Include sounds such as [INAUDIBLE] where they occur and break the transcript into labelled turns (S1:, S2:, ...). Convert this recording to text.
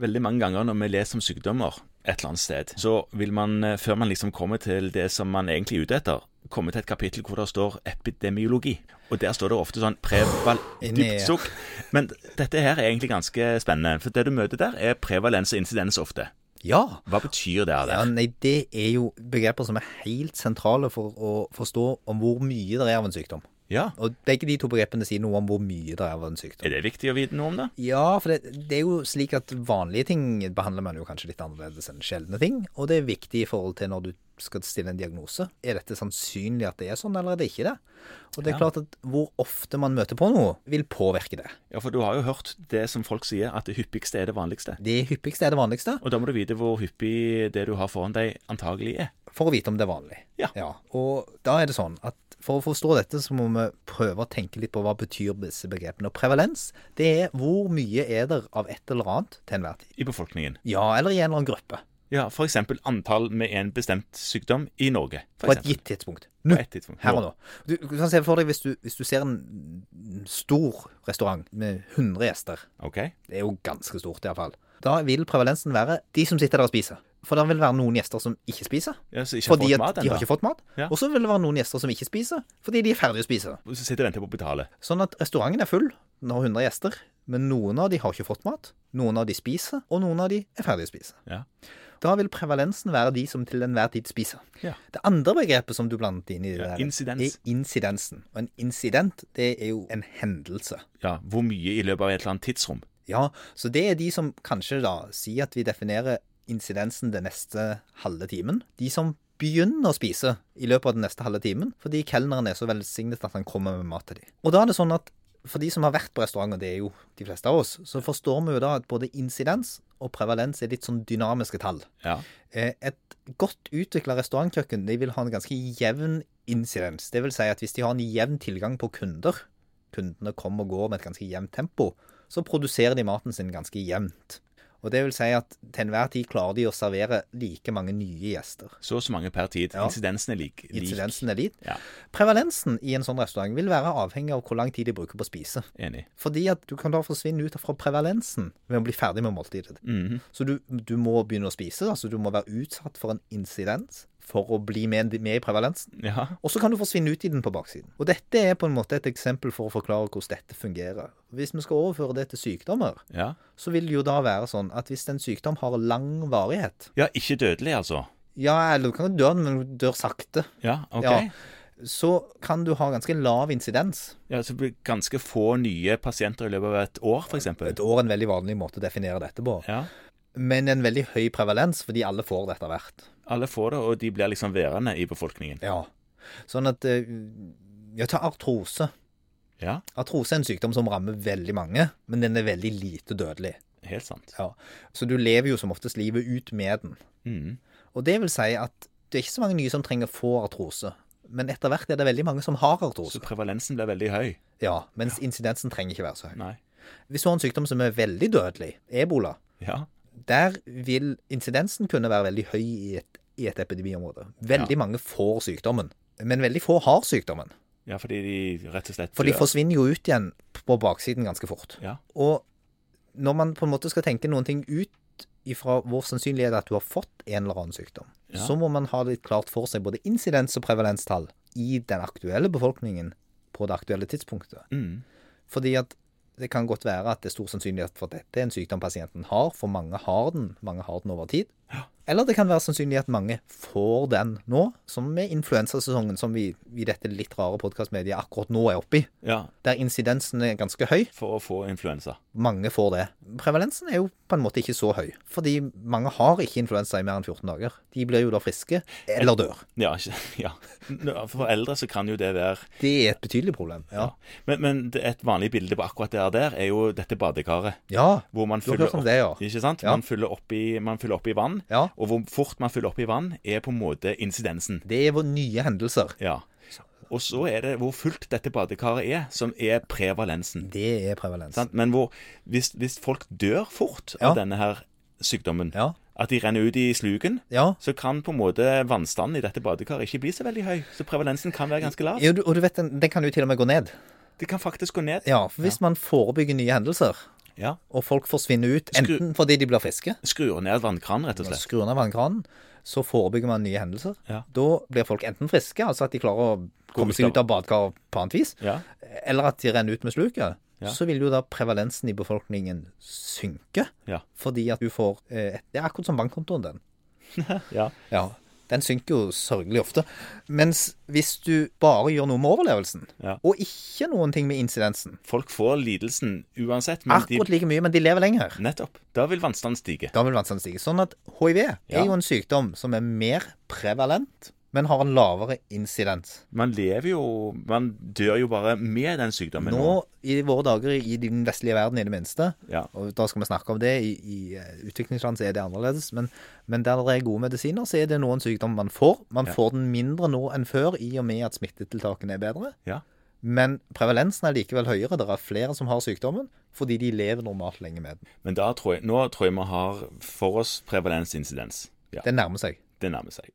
S1: Veldig mange ganger når vi leser om sykdommer et eller annet sted, så vil man, eh, før man liksom kommer til det som man egentlig er ute etter, komme til et kapittel hvor det står epidemiologi. Og der står det ofte sånn preval...
S2: Inni,
S1: Dypt
S2: ja.
S1: sukk. Men dette her er egentlig ganske spennende. For det du møter der, er prevalens og insidens ofte.
S2: Ja.
S1: Hva betyr det?
S2: ja.
S1: Der?
S2: Nei, det er jo begreper som er helt sentrale for å forstå om hvor mye det er av en sykdom.
S1: Ja.
S2: Og begge de to begrepene sier noe om hvor mye det er av en
S1: Er
S2: sykdom.
S1: det viktig å vite noe om det?
S2: Ja, for det, det er jo slik at vanlige ting behandler man jo kanskje litt annerledes enn sjeldne ting. Og det er viktig i forhold til når du skal stille en diagnose. Er dette sannsynlig at det er sånn, eller er det ikke det? Og det er klart at hvor ofte man møter på noe, vil påvirke det.
S1: Ja, for du har jo hørt det som folk sier, at det hyppigste er det vanligste.
S2: Det hyppigste er det vanligste.
S1: Og da må du vite hvor hyppig det du har foran deg, antagelig er.
S2: for å vite om det er vanlig.
S1: Ja.
S2: Og da er det sånn at for å forstå dette, så må vi prøve å tenke litt på hva betyr disse begrepene. Og prevalens, det er hvor mye er der av et eller annet til enhver tid.
S1: I befolkningen.
S2: Ja, eller i en eller annen gruppe.
S1: Ja, f.eks. antall med en bestemt sykdom i Norge. For
S2: På et
S1: eksempel.
S2: gitt tidspunkt.
S1: På
S2: Nå.
S1: et tidspunkt.
S2: Her og nå. Du, du kan se for deg hvis du, hvis du ser en stor restaurant med 100 gjester.
S1: Ok.
S2: Det er jo ganske stort, iallfall. Da vil prevalensen være de som sitter der og spiser. For det vil være noen gjester som ikke spiser.
S1: Ja, så ikke har
S2: Fordi
S1: fått
S2: at
S1: mat
S2: de har
S1: ennå.
S2: ikke fått mat.
S1: Ja.
S2: Og så vil det være noen gjester som ikke spiser, fordi de er ferdige å spise.
S1: Så sitter og venter på å betale.
S2: Sånn at restauranten er full, den har 100 gjester, men noen av de har ikke fått mat. Noen av de spiser, og noen av de er ferdig å spise.
S1: Ja.
S2: Da vil prevalensen være de som til enhver tid spiser.
S1: Ja.
S2: Det andre begrepet som du blandet inn i det
S1: Ja,
S2: der,
S1: insidens.
S2: er incidensen. Og en incident, det er jo en hendelse.
S1: Ja, Hvor mye i løpet av et eller annet tidsrom?
S2: Ja, så det er de som kanskje da sier at vi definerer incidensen den neste halve timen. De som begynner å spise i løpet av den neste halve timen, fordi kelneren er så velsignet at han kommer med mat til dem. Og da er det sånn at for de som har vært på restaurant, og det er jo de fleste av oss, så forstår vi jo da at både insidens og prevalens er litt sånn dynamiske tall.
S1: Ja.
S2: Eh, Et godt utvikla restaurantkjøkken de vil ha en ganske jevn incidens. Det vil si at hvis de har en jevn tilgang på kunder, kundene kommer og går med et ganske jevnt tempo, så produserer de maten sin ganske jevnt. Og det vil si at til enhver tid klarer de å servere like mange nye gjester.
S1: Så og så mange per tid.
S2: Ja.
S1: Insidensen er lik. lik.
S2: Incidensen er litt.
S1: Ja.
S2: Prevalensen i en sånn restaurant vil være avhengig av hvor lang tid de bruker på å spise.
S1: Enig.
S2: Fordi at du kan da forsvinne ut fra prevalensen ved å bli ferdig med måltidet.
S1: Mhm.
S2: Så du, du må begynne å spise, altså du må være utsatt for en incidens for å bli med, med i prevalensen.
S1: Ja.
S2: Og så kan du forsvinne ut i den på baksiden. Og dette er på en måte et eksempel for å forklare hvordan dette fungerer. Hvis vi skal overføre det til sykdommer,
S1: ja.
S2: så vil det jo da være sånn at hvis en sykdom har lang varighet
S1: Ja, ikke dødelig, altså.
S2: Ja, eller du kan jo dø, men du dør sakte.
S1: Ja, ok.
S2: Ja.
S1: Ja.
S2: Så kan du ha ganske lav insidens.
S1: Så blir det ganske få nye pasienter i løpet av et år, f.eks.
S2: Et år er en veldig vanlig måte å definere dette på.
S1: Ja.
S2: Men en veldig høy prevalens, fordi alle får det etter hvert.
S1: Alle får det, og de blir liksom værende i befolkningen.
S2: Ja. Sånn at eh, Ja, ta artrose.
S1: Ja,
S2: Artrose er en sykdom som rammer veldig mange, men den er veldig lite dødelig.
S1: helt sant.
S2: Ja. Så du lever jo som oftest livet ut med den.
S1: Mhm.
S2: Og det vil si at det er ikke så mange nye som trenger å få artrose. Men etter hvert er det veldig mange som har
S1: Så
S2: artrose.
S1: prevalensen blir veldig høy.
S2: Ja, Mens insidensen trenger ikke være så høy.
S1: Nei.
S2: Hvis du har en sykdom som er veldig dødelig, ebola,
S1: Ja.
S2: der vil incidensen kunne være veldig høy i et, i et epidemiområde. Veldig mange får sykdommen. Men veldig få har sykdommen.
S1: ja, fordi de rett og slett
S2: For de
S1: dør.
S2: forsvinner jo ut igjen på baksiden ganske fort.
S1: Ja.
S2: Og når man på en måte skal tenke noen ting ut ifra hvor sannsynlig er det at du har fått en eller annen sykdom,
S1: Ja.
S2: så må man ha litt klart for seg både insidens- og prevalenstall i den aktuelle befolkningen på det aktuelle tidspunktet.
S1: Mhm.
S2: Fordi at det kan godt være at det er stor sannsynlighet for at dette er en sykdom pasienten har, for mange har den. Mange har den over tid. Eller det kan være sannsynlig at mange får den nå, som med influensasesongen som vi i dette litt rare podkastmediet akkurat nå er oppe i,
S1: ja.
S2: der insidensen er ganske høy.
S1: For å få influensa.
S2: Mange får det. Prevalensen er jo på en måte ikke så høy, fordi mange har ikke influensa i mer enn 14 dager. De blir jo da friske, eller dør.
S1: Ja, ikke, [LAUGHS] ja. Nå, For eldre så kan jo det være
S2: Det er et betydelig problem. Ja.
S1: Men, men det- et vanlig bilde på akkurat det der er jo dette badekaret.
S2: ja.
S1: Hvor man
S2: Du har
S1: fyller
S2: hørt om
S1: opp,
S2: det, ja.
S1: Ikke sant?
S2: Ja.
S1: Man, fyller opp i, man fyller opp i vann.
S2: Ja.
S1: Og hvor fort man fyller opp i vann, er på en måte incidensen.
S2: Det er våre nye hendelser.
S1: Ja. Og så er det hvor fullt dette badekaret er, som er prevalensen.
S2: Det er prevalens.
S1: Sant? Men hvor, hvis, hvis folk dør fort av
S2: Ja.
S1: denne her sykdommen,
S2: Ja.
S1: at de renner ut i sluken,
S2: Ja.
S1: så kan på en måte vannstanden i dette badekaret ikke bli så veldig høy. Så prevalensen kan være ganske lav.
S2: Ja, du, og du vet, den, den kan jo til og med gå ned.
S1: Det kan faktisk gå ned.
S2: Ja, for hvis man forebygger nye hendelser,
S1: Ja.
S2: og folk forsvinner ut,
S1: Skru-
S2: enten fordi de blir friske,
S1: Skrur ned vannkranen, rett og
S2: og
S1: slett.
S2: skrur ned vannkranen, så forebygger man nye hendelser.
S1: Ja.
S2: Da blir folk enten friske, altså at de klarer å komme
S1: ut
S2: seg
S1: av-
S2: ut av badekar på annet vis,
S1: Ja.
S2: eller at de renner ut med sluket.
S1: Ja.
S2: Så vil jo da prevalensen i befolkningen synke,
S1: Ja.
S2: fordi at du får eh, et- Det er akkurat som bankkontoen din.
S1: ja.
S2: Ja, den synker jo sørgelig ofte. Mens hvis du bare gjør noe med overlevelsen,
S1: Ja.
S2: og ikke noen ting med incidensen,
S1: Folk får lidelsen uansett, men de
S2: akkurat like mye, men de lever lenger,
S1: Nettopp. Da vil vannstanden stige.
S2: da vil vannstanden stige. Sånn at hiv
S1: Ja.
S2: er jo en sykdom som er mer prevalent, men har en lavere incidens.
S1: Man lever jo Man dør jo bare med den sykdommen.
S2: Nå i våre dager i den vestlige verden i det minste,
S1: Ja.
S2: og da skal vi snakke om det, i, i eh, utviklingsland så er det annerledes, men, men der det er gode medisiner, så er det noen sykdommer man får. Man
S1: Ja.
S2: får den mindre nå enn før, i og med at smittetiltakene er bedre.
S1: Ja.
S2: Men prevalensen er likevel høyere. Det er flere som har sykdommen fordi de lever normalt lenge med den.
S1: Men da tror jeg, nå tror jeg vi har for oss prevalens-insidens. Ja,
S2: Det nærmer seg.
S1: det nærmer seg.